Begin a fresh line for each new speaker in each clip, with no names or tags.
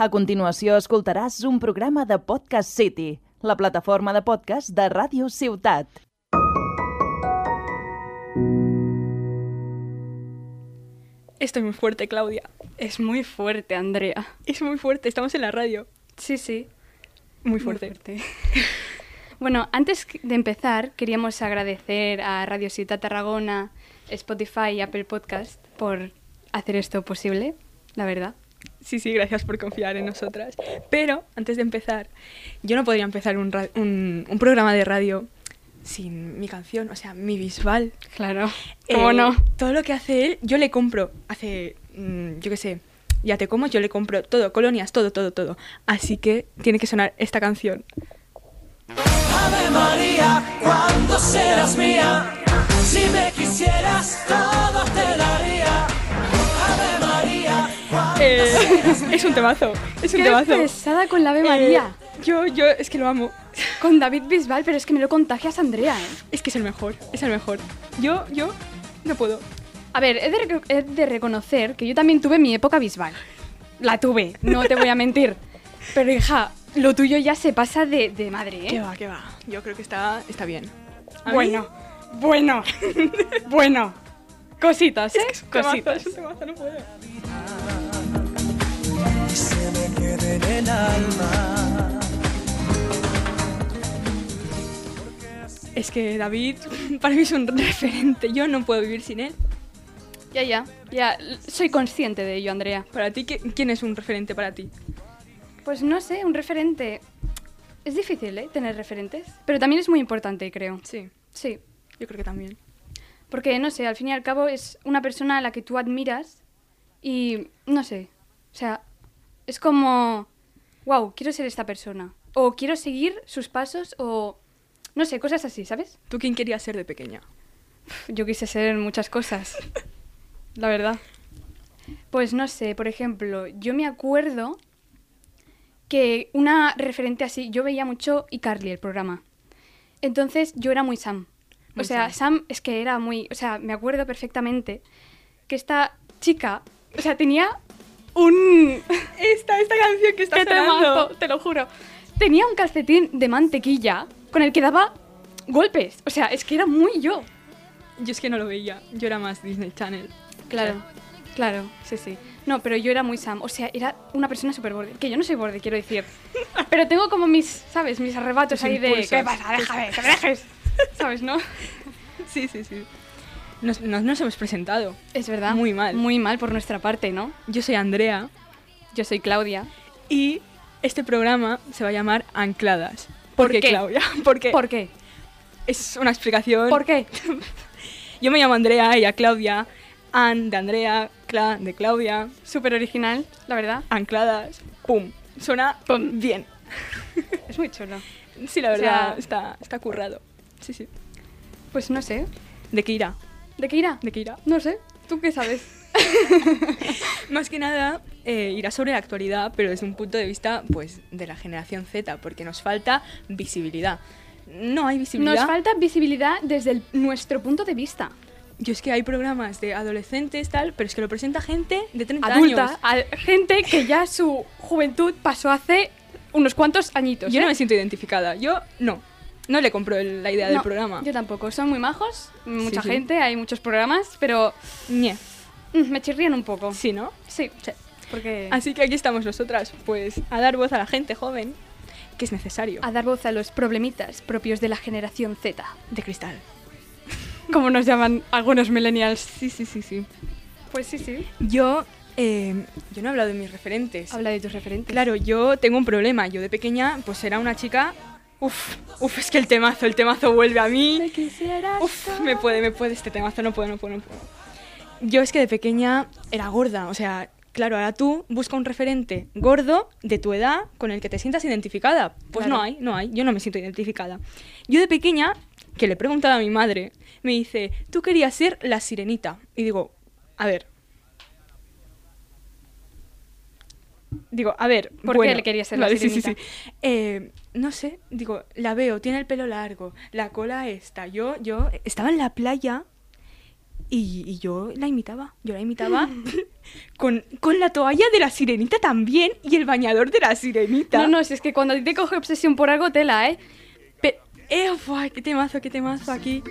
A continuació escoltaràs un programa de Podcast City, la plataforma de podcast de Ràdio Ciutat.
Esto es muy fuerte, Claudia.
Es muy fuerte, Andrea.
Es muy fuerte, estamos en la radio.
Sí, sí.
Muy fuerte.
bueno, antes que- de empezar, queríamos agradecer a Radio Ciudad Tarragona, Spotify y Apple Podcast por hacer esto posible, la verdad.
Sí, sí, gracias por confiar en nosotras. Pero, antes de empezar, yo no podría empezar un, ra- un, un programa de radio sin mi canción, o sea, mi bisbal.
Claro. ¿Cómo
Eh,
no?
Todo lo que hace él, yo le compro. Hace, mm, yo qué sé, ya te como, yo le compro todo, colonias, todo, todo, todo. Así que tiene que sonar esta canción.
Ave María, cuando serás mía? Si me quisieras, todo te daría. Ave María, cuando
Eh, es un temazo, es un
Qué
temazo.
pesada con la Ave María.
Eh, yo, yo, es que lo amo.
Con David Bisbal, pero es que me lo contagias, Andrea. ¿eh?
Es que es el mejor, es el mejor. Yo, yo, no puedo.
A ver, he de, rec- he de reconocer que yo también tuve mi época Bisbal. La tuve, no te voy a mentir. Pero hija, lo tuyo ya se pasa de, de madre, ¿eh?
¿Qué va, qué va? Yo creo que está, está bien. A mí-
Bueno, bueno, bueno. Cositas, ¿eh?
es un temazo,
Cositas.
es un temazo, no puedo.
se me quede en el alma.
Es que David para mí es un referente. Yo no puedo vivir sin él.
Ya, ya, ya. l- Soy consciente de ello, Andrea.
Para ti, ¿qui- ¿quién es un referente para ti?
Pues no sé, un referente. Es difícil, ¿eh? Tener referentes. Pero también es muy importante, creo.
Sí,
Sí.
yo creo que también.
Porque, no sé, al fin y al cabo es una persona a la que tú admiras y, no sé, o sea, es como, wow, quiero ser esta persona. O quiero seguir sus pasos o, no sé, cosas así, ¿sabes?
¿Tú quién querías ser de pequeña?
Yo quise ser muchas cosas.
La verdad.
Pues no sé, por ejemplo, yo me acuerdo que una referente así, yo veía mucho iCarly, el programa. Entonces yo era muy Sam.
Muy
o sea, Sam. es que era muy. O sea, me acuerdo perfectamente que esta chica, o sea, tenía un.
Esta, esta canción que está
¡Qué
sonando.
temazo! Te lo juro. Tenía un calcetín de mantequilla con el que daba golpes. O sea, es que era muy yo.
Yo es que no lo veía. Yo era más Disney Channel.
Claro, claro, sí, sí. No, pero yo era muy Sam. O sea, era una persona súper borde. Que yo no soy borde, quiero decir. Pero tengo como mis, ¿sabes? Mis arrebatos
Tus
ahí
impulsos.
de... ¿Qué pasa? Déjame, que me dejes. ¿Sabes, no?
Sí, sí, sí. Nos, nos- nos hemos presentado.
Es verdad.
Muy mal.
Muy mal por nuestra parte, ¿no?
Yo soy Andrea
Yo soy Claudia.
y este programa se va a llamar Ancladas. ¿Por,
¿Por
qué,
qué?
Claudia? Porque
¿Por qué?
es una explicación.
¿Por qué?
Yo me llamo Andrea, ella Claudia, An de Andrea, Cla de Claudia,
Súper original, la verdad.
ancladas, pum. Suena
Pum.
bien.
Es muy chulo.
Sí, la
O
verdad,
sea-
está, está currado. Sí, sí.
Pues no sé.
¿De qué irá?
¿De qué irá?
¿De qué irá?
No sé. ¿Tú qué sabes?
Más que nada, eh, irá sobre la actualidad, pero desde un punto de vista, pues, de la generación Z, porque nos falta visibilidad. No hay visibilidad.
Nos falta visibilidad desde el- nuestro punto de vista.
Yo es que hay programas de adolescentes, tal, pero es que lo presenta gente de 30 años.
adulta, Ah, a- gente que ya su juventud pasó hace unos cuantos añitos.
Yo no
¿eh?
me siento identificada. Yo no. No le compro el- la idea del
No,
programa.
Yo tampoco, son muy majos, mucha
sí.
gente, hay muchos programas, pero
Ñe.
mm, me chirrían un poco.
Sí, ¿no?
Sí, Ah,
Sí.
porque
Así que aquí estamos nosotras, pues, a dar voz a la gente joven, que es necesario.
a dar voz a los problemitas propios de la generación Z,
De cristal.
como nos llaman algunos millennials.
Sí, sí, sí, sí.
Pues sí, sí.
Yo, eh, yo no he hablado de mis referentes.
Habla de tus referentes.
Claro, yo tengo un problema. Yo de pequeña, pues era una chica. Uf, uf, es que el temazo, el temazo vuelve a mí.
quisieras.
Uf, me puede, me puede este temazo, no puedo, no puedo, no puedo. Yo es que de pequeña era gorda, o sea, claro, ahora tú busca un referente gordo de tu edad con el que te sientas identificada. Pues no
Claro.
hay, no hay, yo no me siento identificada. Yo de pequeña, que le he preguntado a mi madre, me dice, tú querías ser la sirenita. Y digo, a ver. Digo, a ver,
¿Por qué
bueno,
le querías ser la
sí, sí,
sirenita?
sí. Eh, no sé, digo, la veo, tiene el pelo largo, la cola esta. Yo, yo estaba en la playa y, y yo la imitaba, yo la imitaba con, con la toalla de la sirenita también y el bañador de la sirenita.
No, no, si es que cuando a ti te coge obsesión por algo, tela, ¿eh?
Pe- eh, buah, qué temazo, qué temazo aquí.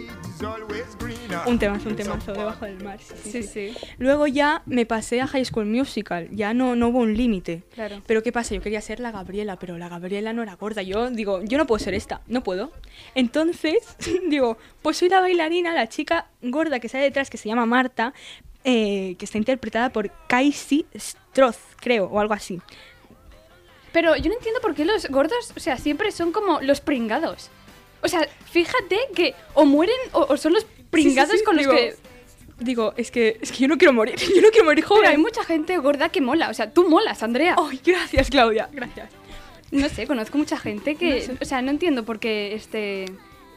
Un temazo, un temazo debajo del mar. sí, sí,
Sí,
sí.
sí,
Luego ya me pasé a High School Musical, ya no, no hubo un límite.
claro.
Pero ¿qué pasa? Yo quería ser la Gabriela, pero la Gabriela no era gorda. Yo digo, yo no puedo ser esta, no puedo. Entonces, digo, pues soy la bailarina, la chica gorda que sale detrás, que se llama Marta, eh, que está interpretada por Casey Stroth, creo, o algo así.
Pero yo no entiendo por qué los gordos, o sea, siempre son como los pringados. O sea, fíjate que o mueren o, o son los pringados
Sí, sí, sí,
con los
digo,
que...
Digo, es que, es que yo no quiero morir, yo no quiero morir joven.
Pero hay mucha gente gorda que mola, o sea, tú molas, Andrea.
Ay, gracias, Claudia, gracias.
No sé, conozco mucha gente que...
No sé.
O sea, no entiendo por qué este...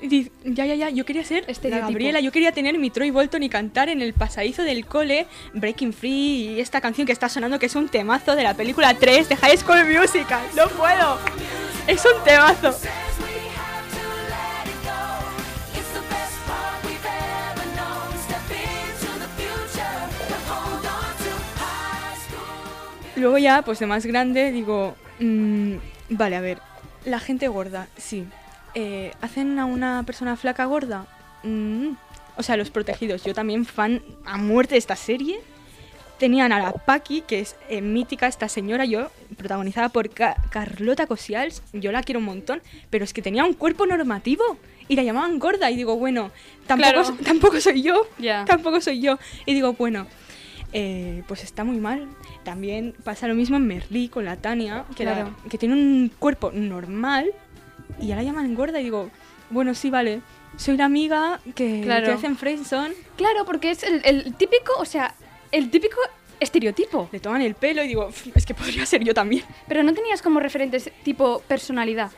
Y dice, Ya, ya, ya, yo quería ser la
Estereotipo.
Gabriela, yo quería tener mi Troy Bolton y cantar en el pasadizo del cole Breaking Free y esta canción que está sonando que es un temazo de la película 3 de High School Musical. ¡No puedo! ¡Es un temazo! Luego ya, pues de más grande, digo, mm, vale, a ver, la gente gorda, sí. Eh, ¿Hacen a una persona flaca gorda? Mm, o sea, los protegidos. Yo también fan a muerte de esta serie. Tenían a la Paki, que es eh, mítica esta señora, yo, protagonizada por Ca- Carlota Cosials, yo la quiero un montón, pero es que tenía un cuerpo normativo y la llamaban gorda y digo, bueno, tampoco,
Claro.
so- tampoco soy yo,
Ya.
tampoco soy yo. Y digo, bueno, eh, pues está muy mal. También pasa lo mismo en Merlí con la Tania, que, la-
Claro.
que tiene un cuerpo normal y ya la llaman gorda y digo, bueno, sí, vale, soy la amiga que,
Claro.
que hacen Friendzone,
Claro, porque es el, el típico, o sea, el típico estereotipo.
le toman el pelo y digo, "Pf, es que podría ser yo también.
Pero no tenías como referentes tipo personalidad.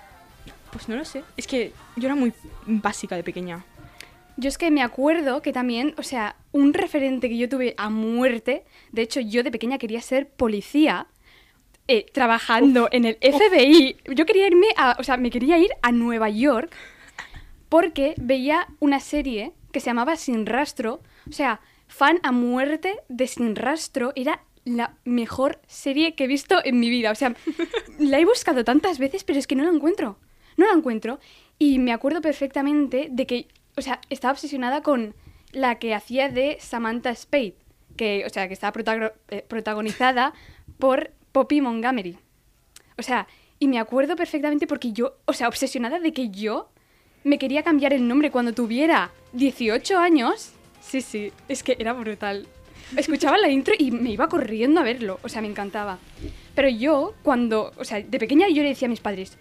Pues no lo sé, es que yo era muy básica de pequeña.
Yo es que me acuerdo que también, o sea, un referente que yo tuve a muerte, de hecho yo de pequeña quería ser policía, eh, trabajando en el FBI. Yo quería irme a, o sea, me quería ir a Nueva York porque veía una serie que se llamaba Sin Rastro, o sea, fan a muerte de Sin Rastro, era la mejor serie que he visto en mi vida, o sea, la he buscado tantas veces, pero es que no la encuentro, no la encuentro, y me acuerdo perfectamente de que, o sea, estaba obsesionada con la que hacía de Samantha Spade, que, o sea, que estaba protago- eh, protagonizada por Poppy Montgomery. O sea, y me acuerdo perfectamente porque yo, o sea, obsesionada de que yo me quería cambiar el nombre cuando tuviera 18 años. Sí, sí, es que era brutal. Escuchaba la intro y me iba corriendo a verlo, o sea, me encantaba. Pero yo, cuando, o sea, de pequeña yo le decía a mis padres,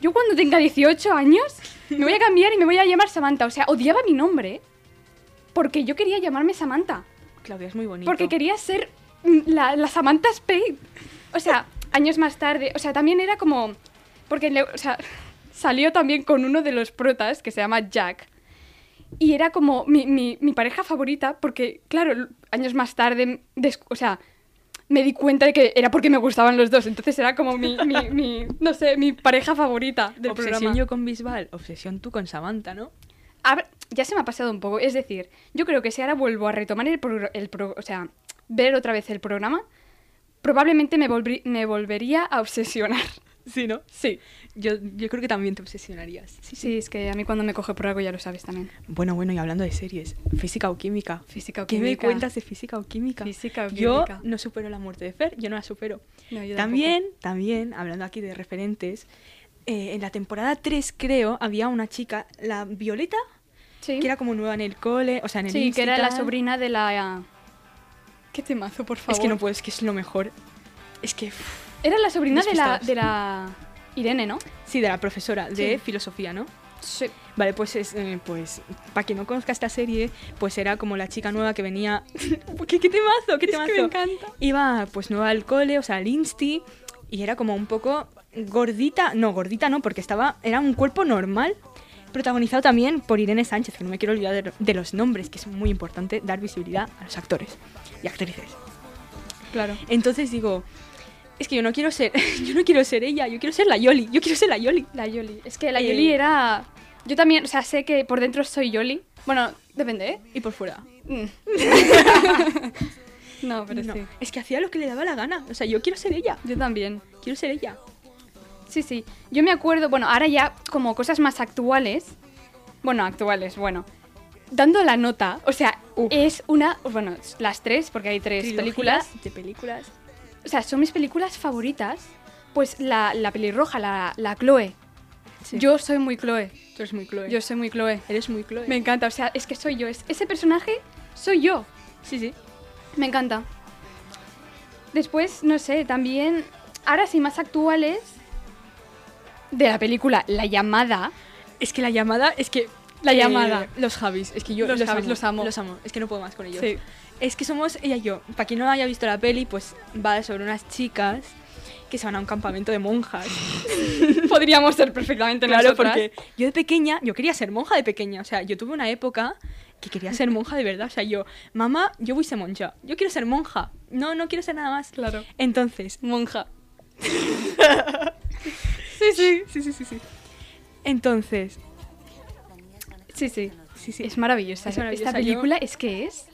yo cuando tenga 18 años me voy a cambiar y me voy a llamar Samantha. O sea, odiaba mi nombre porque yo quería llamarme Samantha.
Claudia es muy bonita.
Porque quería ser mm, la, la Samantha Spade. O sea, años más tarde. O sea, también era como. Porque le- o sea, salió también con uno de los protas que se llama Jack. Y era como mi, mi- mi pareja favorita, porque, claro, l- años más tarde. des- O sea, me di cuenta de que era porque me gustaban los dos. Entonces era como mi. mi- mi, no sé, mi pareja favorita del
obsesión
programa.
yo con Bisbal, obsesión tú con Samantha, ¿no?
A ver, ya se me ha pasado un poco. Es decir, yo creo que si ahora vuelvo a retomar el, progr- el pro- o sea, ver otra vez el programa, probablemente me, volvrí- me volvería a obsesionar.
Sí, ¿no? Sí. Yo, yo creo que también te obsesionarías.
Sí, es que a mí cuando me coge por algo ya lo sabes también.
Bueno, bueno, y hablando de series, física o química.
Física o
¿Qué me
química.
cuentas de física o química?
Física o
yo
química.
no supero la muerte de Fer, yo no la supero.
No, yo tampoco.
también, también, hablando aquí de referentes, eh, en la temporada 3 creo había una chica, la Violeta,
Sí,
que era como nueva en el cole, o sea, en el
sí
insti
que era la
tal.
sobrina de la... ¿Qué temazo, por favor?
Es que no puedo, es que es lo mejor. Es que, uff,
Era la sobrina de la,
Despistados.
de la Irene, ¿no?
sí, de la profesora de
Sí.
filosofía, ¿no?
Sí.
Vale, pues es, eh, pues, para quien no conozca esta serie, pues era como la chica nueva que venía. ¿Qué, qué temazo? ¿Qué
Es
temazo?
que me encanta.
Iba pues nueva al cole, o sea, al insti, y era como un poco gordita, no, gordita no, porque estaba, era un cuerpo normal, protagonizado también por Irene Sánchez, que no me quiero olvidar de, de los nombres, que es muy importante dar visibilidad a los actores y actrices.
Claro.
Entonces digo, es que yo no quiero ser, yo no quiero ser ella, yo quiero ser la Yoli, yo quiero ser la Yoli.
La Yoli. Es que la
Eh.
Yoli era... Yo también, o sea, sé que por dentro soy Yoli. Bueno, depende, ¿eh?
Y por fuera.
Mm. No, pero
No,
sí.
Es que hacía lo que le daba la gana. O sea, yo quiero ser ella.
Yo también.
Quiero ser ella.
Sí, sí. Yo me acuerdo, bueno, ahora ya como cosas más actuales. Bueno, actuales, bueno. Dando la nota, o sea,
Uf.
es una. Bueno, las tres, porque hay tres
Trilogía
películas.
De películas.
O sea, son mis películas favoritas. Pues la, la pelirroja, la, la Chloe. Yo soy muy Chloe.
Tú eres muy Chloe.
Yo soy muy Chloe.
Eres muy Chloe.
Me encanta, o sea, es que soy yo. es- ese personaje soy yo.
Sí, sí.
Me encanta. Después, no sé, también. Ahora sí, más actuales. De la película La Llamada.
Es que la llamada, es que...
La
eh,
llamada.
los Javis. Es que yo
Los
los,
Javis, los amo.
Los amo. Es que no puedo más con ellos.
Sí.
Es que somos ella y yo. Para quien no haya visto la peli, pues va sobre unas chicas que se van a un campamento de monjas.
Podríamos ser perfectamente
Claro,
nosotras.
porque yo de pequeña, yo quería ser monja de pequeña. O sea, yo tuve una época que quería ser monja de verdad. O sea, yo, mamá, yo voy a ser monja. Yo quiero ser monja. No, no quiero ser nada más.
Claro.
Entonces,
Monja.
sí, sí, sí, sí, sí, sí. Entonces,
Sí, sí.
sí, sí.
Es maravillosa. ¿eh?
Es maravillosa,
Esta
yo-
película es que es.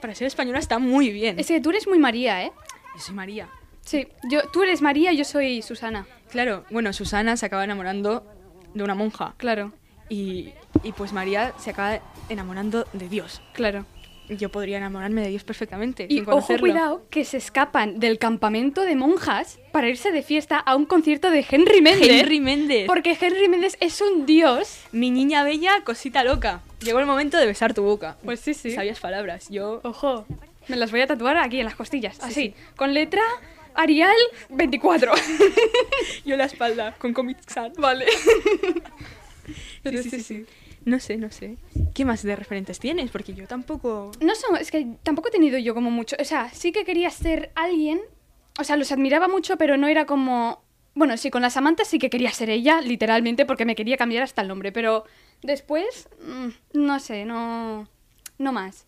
Para ser española está muy bien.
Es que tú eres muy María, ¿eh?
Yo soy María.
Sí. Yo, tú eres María, yo soy Susana.
Claro, bueno, Susana se acaba enamorando de una monja.
Claro,
Y, y pues María se acaba enamorando de Dios.
claro.
Y Yo podría enamorarme de Dios perfectamente.
Y
sin
ojo,
conocerlo.
cuidado, que se escapan del campamento de monjas para irse de fiesta a un concierto de Henry Méndez.
Henry Méndez.
Porque Henry Méndez es un dios.
Mi niña bella, cosita loca. Llegó el momento de besar tu boca.
Pues sí, sí.
Sabias palabras. Yo.
Ojo. Me las voy a tatuar aquí en las costillas. así.
sí.
Con letra Arial 24.
Yo la espalda, con Comic Sans.
vale.
Sí, sí, sí, sí. No sé, no sé. ¿Qué más de referentes tienes? Porque yo tampoco.
No son, es que tampoco he tenido yo como mucho. O sea, sí que quería ser alguien. O sea, los admiraba mucho, pero no era como. Bueno, sí, con la Samantha sí que quería ser ella, literalmente, porque me quería cambiar hasta el nombre. Pero después, mm, no sé, no. No más.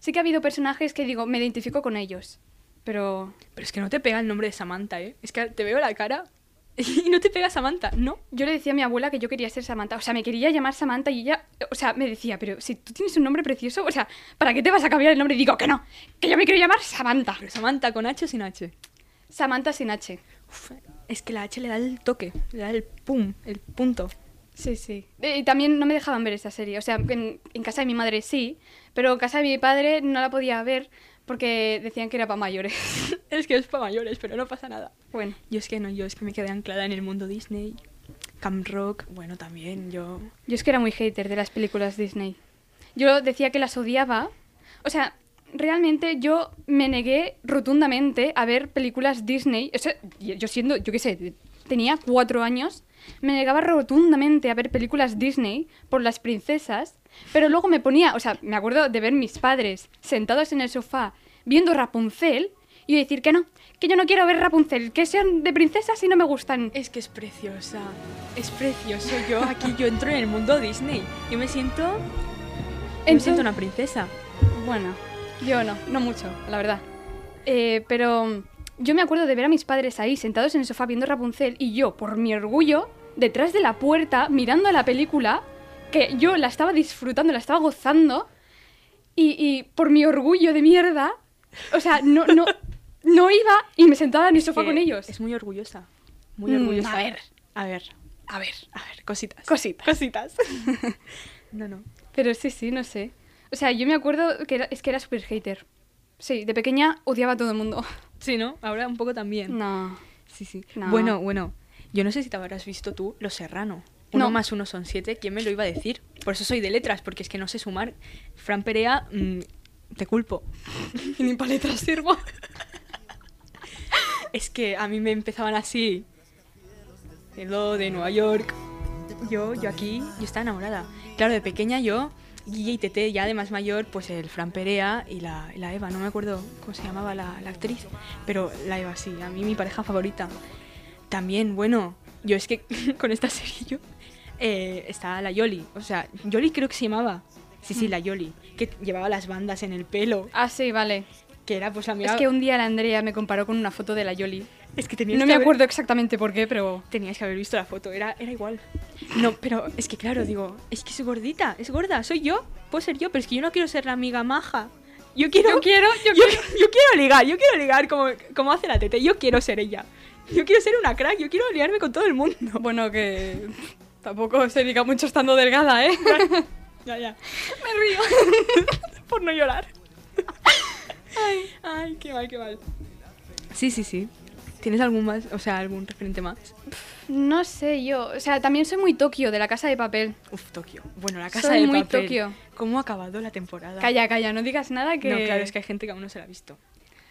Sí que ha habido personajes que digo, me identifico con ellos. Pero
Pero es que no te pega el nombre de Samantha, ¿eh? Es que te veo la cara y no te pega Samantha, ¿no?
yo le decía a mi abuela que yo quería ser Samantha. O sea, me quería llamar Samantha y ella, o sea, me decía, pero si tú tienes un nombre precioso, o sea, ¿para qué te vas a cambiar el nombre? Y digo, que no, que yo me quiero llamar Samantha.
Pero Samantha con H o sin H.
Samantha sin H.
Uf, es que la H le da el toque, le da el pum, el punto.
Sí, sí. Eh, Y también no me dejaban ver esta serie. O sea, en, en casa de mi madre sí, pero en casa de mi padre no la podía ver porque decían que era para mayores.
Es que es para mayores, pero no pasa nada.
bueno,
Yo es que no, yo es que me quedé anclada en el mundo Disney. Camp Rock, bueno, también yo.
yo es que era muy hater de las películas Disney. Yo decía que las odiaba. O sea, realmente yo me negué rotundamente a ver películas Disney. O sea, y- yo siendo, yo qué sé, tenía cuatro años, me negaba rotundamente a ver películas Disney por las princesas, pero luego me ponía, o sea, me acuerdo de ver mis padres sentados en el sofá viendo Rapunzel y decir que no, que yo no quiero ver Rapunzel, que sean de princesas y no me gustan.
Es que es preciosa, es precioso. Yo aquí yo entro en el mundo Disney. Yo me siento, yo me
Entonces-
siento una princesa.
Bueno, yo no, no mucho, la verdad. Eh, pero yo me acuerdo de ver a mis padres ahí sentados en el sofá viendo Rapunzel y yo, por mi orgullo, detrás de la puerta mirando la película, que yo la estaba disfrutando, la estaba gozando, y, y por mi orgullo de mierda, o sea, no, no, no iba y me sentaba en el sofá
Que
con ellos.
Es muy orgullosa, muy
Mm,
orgullosa.
a ver.
a ver,
A ver,
a ver, cositas.
cositas.
cositas. no, no.
Pero sí, sí, no sé. O sea, yo me acuerdo que era, es que era super hater. Sí, de pequeña odiaba a todo el mundo.
Sí, ¿no? Ahora un poco también.
No.
Sí, sí.
No.
Bueno, bueno. Yo no sé si te habrás visto tú Los Serrano. Uno
No.
más uno son siete. ¿Quién me lo iba a decir? Por eso soy de letras, porque es que no sé sumar. Fran Perea, mm, te culpo.
Ni para letras sirvo.
Es que a mí me empezaban así. Hello de Nueva York. Yo, yo aquí, yo estaba enamorada. Claro, de pequeña yo, Guille y Tete, ya de más mayor, pues el Fran Perea y la, y la Eva, no me acuerdo cómo se llamaba la, la actriz, pero la Eva sí, a mí mi pareja favorita. También, bueno, yo es que con esta serie yo eh, estaba la Yoli, o sea, Yoli creo que se llamaba. Sí, sí, la
Mm.
Yoli, que llevaba las bandas en el pelo,
Ah, sí, vale.
que era pues la mía.
Es que un día la Andrea me comparó con una foto de la Yoli.
es que este tenías
No
que
me
haber-
acuerdo exactamente por qué, pero...
Teníais que haber visto la foto, era, era igual. No, pero es que claro, digo, es que soy gordita, es gorda, soy yo, puedo ser yo, pero es que yo no quiero ser la amiga maja Yo quiero,
Yo quiero, yo
yo,
quiero.
yo quiero ligar, yo quiero ligar como, como hace la tete, yo quiero ser ella. Yo quiero ser una crack, yo quiero liarme con todo el mundo.
Bueno,
eh,
que tampoco se diga mucho estando delgada, ¿eh?
Ya, ya.
Me río.
Por no llorar. Ay, ay, qué mal, qué mal. Sí, sí, sí. ¿Tienes algún más, o sea, algún referente más?
No sé yo. O sea, también soy muy Tokio de la casa de papel.
Uf, Tokio. Bueno, la casa
Soy
de
muy
papel.
Tokio.
¿Cómo ha acabado la temporada?
Calla, calla, no digas nada que.
No, claro, es que hay gente que aún no se la ha visto.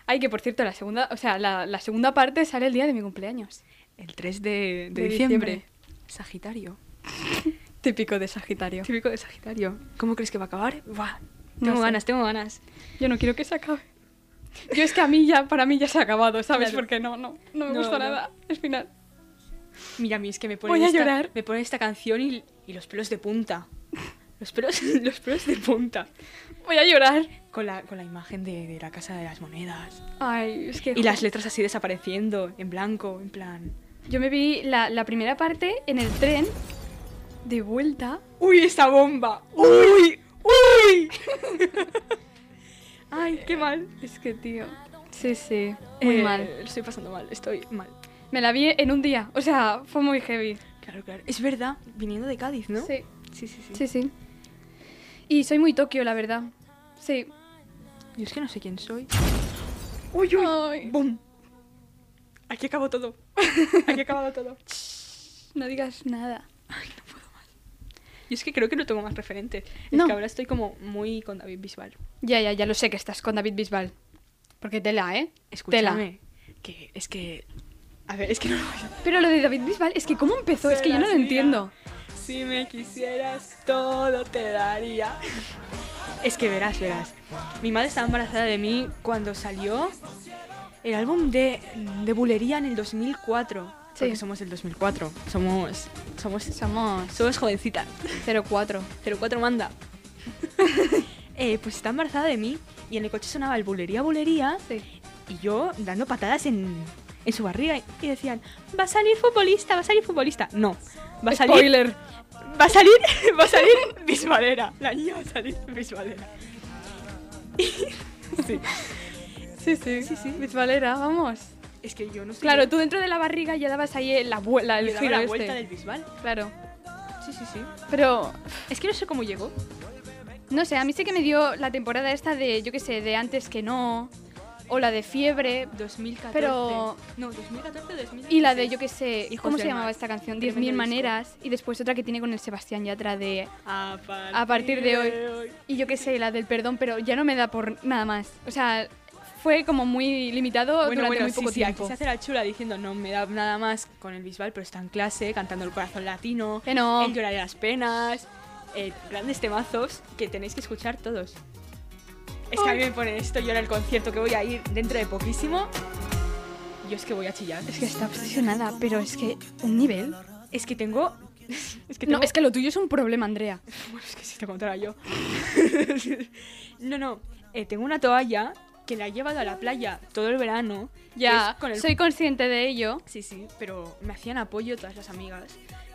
Ay, que por cierto, la segunda, o sea, la, la segunda parte sale el día de mi cumpleaños.
El 3 de, de
De
diciembre.
diciembre.
Sagitario.
Típico de Sagitario.
Típico de Sagitario. ¿Cómo crees que va a acabar? Buah, tengo
sé.
ganas, tengo ganas.
Yo no quiero que se acabe. Yo es que a mí ya, para mí ya se ha acabado, ¿sabes?
Claro.
Porque no, no, no me
No,
gustó
no.
nada el final.
Mira, a mí es que me
Voy
ponen,
a
esta,
llorar.
me ponen esta canción y, y los pelos de punta. Los pelos, los pelos de punta.
Voy a llorar.
Con la, con la imagen de, de la casa de las monedas.
Ay, es que.
Y las letras así desapareciendo, en blanco, en plan.
Yo me vi la, la primera parte en el tren, de vuelta.
¡Uy, esta bomba! ¡Uy! ¡Uy! Ay, qué mal.
Es que, tío. Sí, sí.
Eh,
Muy mal.
Lo estoy pasando mal, estoy mal.
Me la vi en un día. O sea, fue muy heavy.
Claro, claro. Es verdad, viniendo de Cádiz, ¿no?
Sí.
sí, sí. sí.
Sí, sí. Y soy muy Tokio, la verdad. Sí.
Yo es que no sé quién soy.
Uy, uy.
¡Bum! Aquí acabó todo. Aquí ha acabado todo.
No digas nada.
Yo es que creo que no tengo más referentes. Es
No.
que ahora estoy como muy con David Bisbal.
Ya, ya, ya lo sé que estás con David Bisbal. Porque tela, ¿eh? Tela.
Escúchame. Que es que. A ver, es que no lo voy a-
Pero lo de David Bisbal, es que ¿cómo empezó? Es que yo no lo
Serás mía.
entiendo.
Si me quisieras, todo te daría. Es que verás, verás. Mi madre estaba embarazada de mí cuando salió el álbum de, de Bulería en el 2004.
Sí.
Porque somos del 2004. Somos. Somos.
Somos
Somos jovencitas.
04.
04 manda. Eh, pues estaba embarazada de mí y en el coche sonaba el Bulería, Bulería
Sí.
y yo dando patadas en, en su barriga y- y decían, va a salir futbolista, va a salir futbolista. No, va a salir...
Spoiler.
Va a salir, va a salir bisbalera. La niña va a salir bisbalera. sí.
Sí, sí. Sí, sí. Bisbalera, vamos.
Es que yo no sé...
Claro, tú dentro de la barriga ya dabas ahí la vuelta, el
le daba
giro
la
este.
vuelta del bisbal.
Claro.
Sí, sí, sí.
Pero,
Es que no sé cómo llegó.
no sé, a mí sí que me dio la temporada esta de, yo qué sé, de antes que no, o la de fiebre,
2014.
Pero-
No, 2014, 2015.
Y la de, yo qué sé,
Hijos
¿cómo
del
se llamaba
mar.
esta canción?
Tremendo
10.000
disco.
maneras. Y después otra que tiene con el Sebastián Yatra de...
A partir,
A partir de hoy. Y yo qué sé, la del perdón, pero ya no me da por nada más. O sea, fue como muy limitado
Bueno,
durante
bueno,
muy
sí,
poco
sí, aquí
tiempo.
se hace la chula diciendo no me da nada más con el bisbal, pero está en clase cantando el corazón latino,
Que no.
el llorar de las penas, eh, grandes temazos que tenéis que escuchar todos. Es que a mí me ponen esto, yo en el concierto que voy a ir dentro de poquísimo, yo es que voy a chillar.
Es que está obsesionada, pero es que un nivel...
Es que tengo... Es que tengo...
No, es que lo tuyo es un problema, Andrea.
Bueno, es que si te contara yo. no, no, eh, tengo una toalla que la he llevado a la playa todo el verano. que
Ya,
es con el
soy consciente de ello.
Sí, sí, pero me hacían apoyo todas las amigas.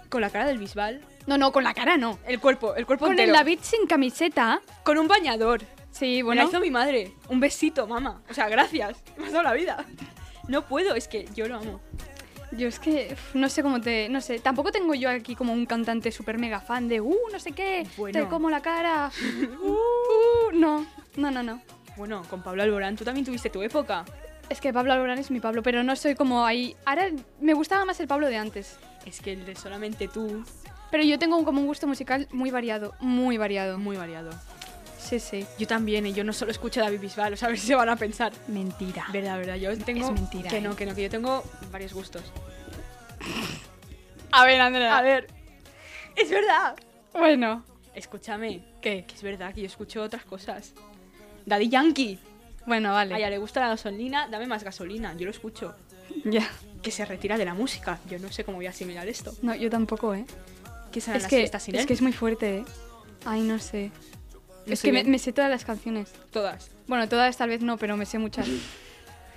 Con la cara del bisbal.
No, no, con la cara no.
El cuerpo, el cuerpo
Con el
entero.
David sin camiseta.
Con un bañador.
Sí,
Bueno.
bueno.
hizo mi madre. Un besito, mamá. O sea, gracias. Me has dado la vida. No puedo, es que yo lo amo.
Yo es que uf, no sé cómo te. No sé. Tampoco tengo yo aquí como un cantante súper mega fan de. Uh, no sé qué.
Bueno.
Te como la cara. uh, no. No, no, no.
Bueno, con Pablo Alborán, tú también tuviste tu época.
Es que Pablo Alborán es mi Pablo, pero no soy como ahí. Ahora me gustaba más el Pablo de antes.
Es que el de solamente tú,
Pero yo tengo un- como un gusto musical muy variado. Muy variado.
muy variado.
Sí, sí.
Yo también, y yo no solo escucho a David Bisbal, o sea, a ver si se van a pensar.
Mentira.
Verdad, verdad, yo tengo.
Es mentira,
Que
¿eh?
no, que no, que yo tengo varios gustos.
A ver, Andrea.
A ver. ¡Es verdad!
Bueno.
Escúchame, ¿qué? Que es verdad que yo escucho otras cosas. Daddy Yankee.
Bueno,
A
vale.
ella le gusta la gasolina, dame más gasolina, yo lo escucho.
Ya.
Que se retira de la música, yo no sé cómo voy a asimilar esto.
No, yo tampoco, ¿eh?
¿Qué serán
Es
las
que,
fiestas sin
es
él?
que es muy fuerte, ¿eh? Ay, no sé.
Yo
es
soy
que me,
bien.
me sé todas las canciones.
Todas.
Bueno, todas tal vez no, pero me sé muchas.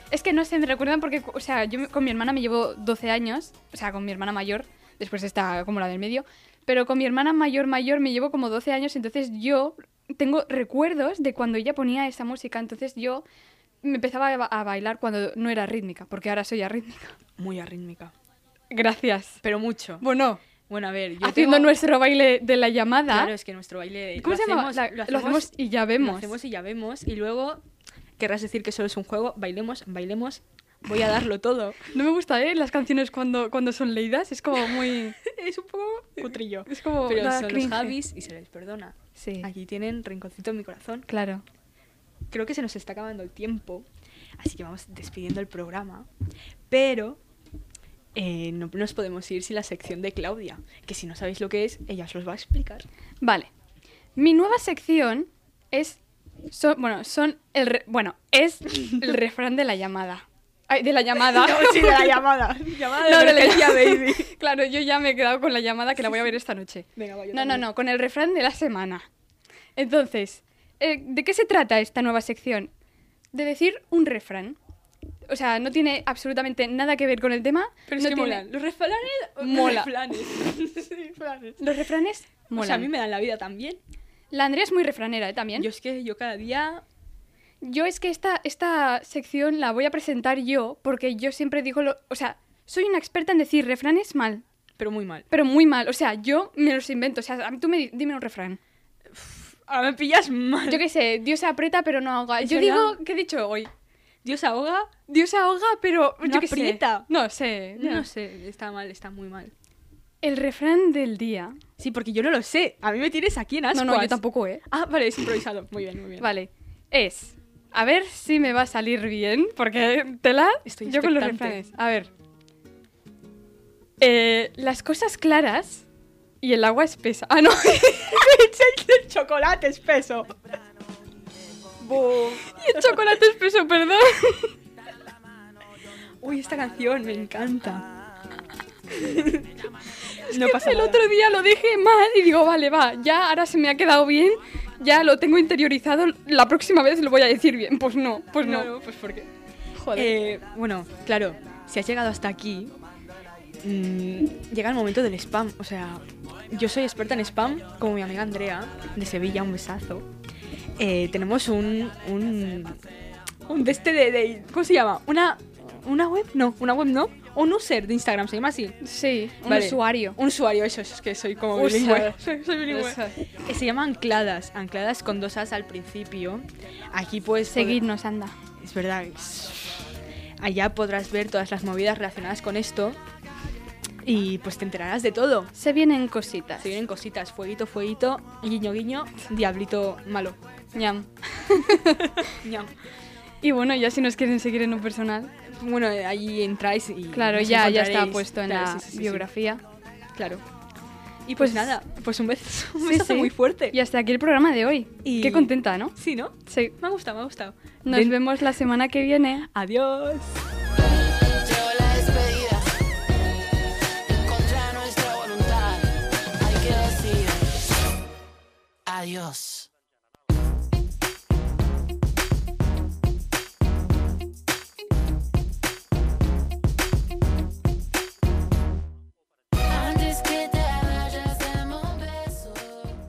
es que no sé, me recuerdan porque, o sea, yo me- con mi hermana me llevo 12 años, o sea, con mi hermana mayor, después está como la del medio, pero con mi hermana mayor mayor me llevo como 12 años, entonces yo tengo recuerdos de cuando ella ponía esa música, entonces yo me empezaba a ba- a bailar cuando no era rítmica, porque ahora soy arrítmica.
Muy arrítmica.
Gracias.
Pero mucho.
Bueno,
Bueno, a ver, yo
haciendo
tengo-
nuestro baile de la llamada.
Claro, es que nuestro baile...
¿Cómo
lo
se llama?
hacemos-
La-
lo
lo
hacemos
Eh, hacemos y ya
Lo
vemos.
hacemos y ya vemos. Y luego querrás decir que solo es un juego. Bailemos, bailemos. Voy a darlo todo.
No me gusta, ¿eh? Las canciones cuando, cuando son leídas. Es como muy...
Es un poco cutrillo.
Es como...
Pero
da
son
cringe.
los Javis y se les perdona.
Sí,
Aquí tienen rinconcito en mi corazón.
claro.
Creo que se nos está acabando el tiempo. Así que vamos despidiendo el programa. Pero eh, no nos podemos ir sin la sección de Claudia. Que si no sabéis lo que es, ella os los va a explicar.
Vale. Mi nueva sección es... Son, bueno, son el re- bueno, es el refrán de la llamada. Ay, de la llamada.
sí, de la llamada. llamada
No, de la
emergencia,
llamada.
baby.
Claro, yo ya me he quedado con la llamada que la voy a ver esta noche.
Venga, va, yo
No, no,
también.
no, con el refrán de la semana. Entonces, eh, ¿de qué se trata esta nueva sección? De decir un refrán. O sea, no tiene absolutamente nada que ver con el tema.
Pero es
no
que
tiene-
molan. Los refranes...
Mola.
Refranes. Sí, refranes.
Los refranes
O sea, a
molan.
mí me dan la vida también.
La Andrea es muy refranera, ¿eh? También.
Yo
Yo,
es que yo cada día...
es que esta, esta sección la voy a presentar yo porque yo siempre digo lo... O sea, soy una experta en decir refranes mal,
Pero muy mal.
pero muy mal. O sea, yo me los invento. O sea, a mí tú me di- dime un refrán.
Ahora me pillas mal.
Yo qué sé, Dios aprieta pero no ahoga.
Es
Yo
verdad.
digo, ¿qué he dicho hoy?
Dios ahoga.
Dios ahoga, pero
No
yo qué sé.
aprieta.
No sé, no.
No sé, está mal, está muy mal.
El refrán del día.
Sí, porque yo no lo sé. A mí me tienes aquí en ascuas.
No, no, yo tampoco, ¿eh?
Ah, vale, es improvisado. Muy bien, muy bien.
Vale. Es. A ver si me va a salir bien, porque tela.
Estoy
yo con los
expectante.
refranes. A ver. Eh, las cosas claras y el agua espesa. Ah, no.
el chocolate espeso.
y el chocolate espeso, perdón.
Uy, esta canción me encanta. no pasa
El
nada.
otro día lo dije mal y digo, vale, va, ya ahora se me ha quedado bien, ya lo tengo interiorizado, la próxima vez lo voy a decir bien. Pues no, pues no.
No, no, pues porque.
Joder.
Eh, bueno, claro, si has llegado hasta aquí, mm, llega el momento del spam. O sea, yo soy experta en spam, como mi amiga Andrea, de Sevilla, un besazo. Eh, tenemos un. un. un de este de, de- ¿Cómo se llama? Una. ¿Una web? No, una web no. Un user de Instagram, se llama así.
Sí, un
Vale.
usuario.
Un usuario, eso, eso, es que soy como
User.
bilingüe. Soy, soy bilingüe.
User.
Eh, Se llama Ancladas, Ancladas con dos as al principio. Aquí pues, puedes seguir
Seguidnos, anda.
es verdad. es- Allá podrás ver todas las movidas relacionadas con esto. Y pues te enterarás de todo.
Se vienen cositas.
Se vienen cositas, fueguito, fueguito, guiño, guiño, diablito malo.
Ñam.
Ñam.
Y bueno, ya si nos quieren seguir en un personal.
Bueno, eh, ahí entráis y...
Claro,
nos
ya, ya
encontraréis.
está puesto en
Claro, sí,
la
sí, sí, sí.
biografía.
Claro. Y pues,
Pues-
nada, pues un beso, un
Sí,
besazo
sí.
muy fuerte.
Y hasta aquí el programa de hoy.
Eh, Y-
Qué contenta, ¿no?
Sí, ¿no?
Sí.
Me ha gustado, me ha gustado.
Nos
Ven-
vemos la semana que viene.
Adiós.
Llegó la despedida, en contra de nuestra voluntad, hay que decir adiós. Antes que te vayas, dame un beso.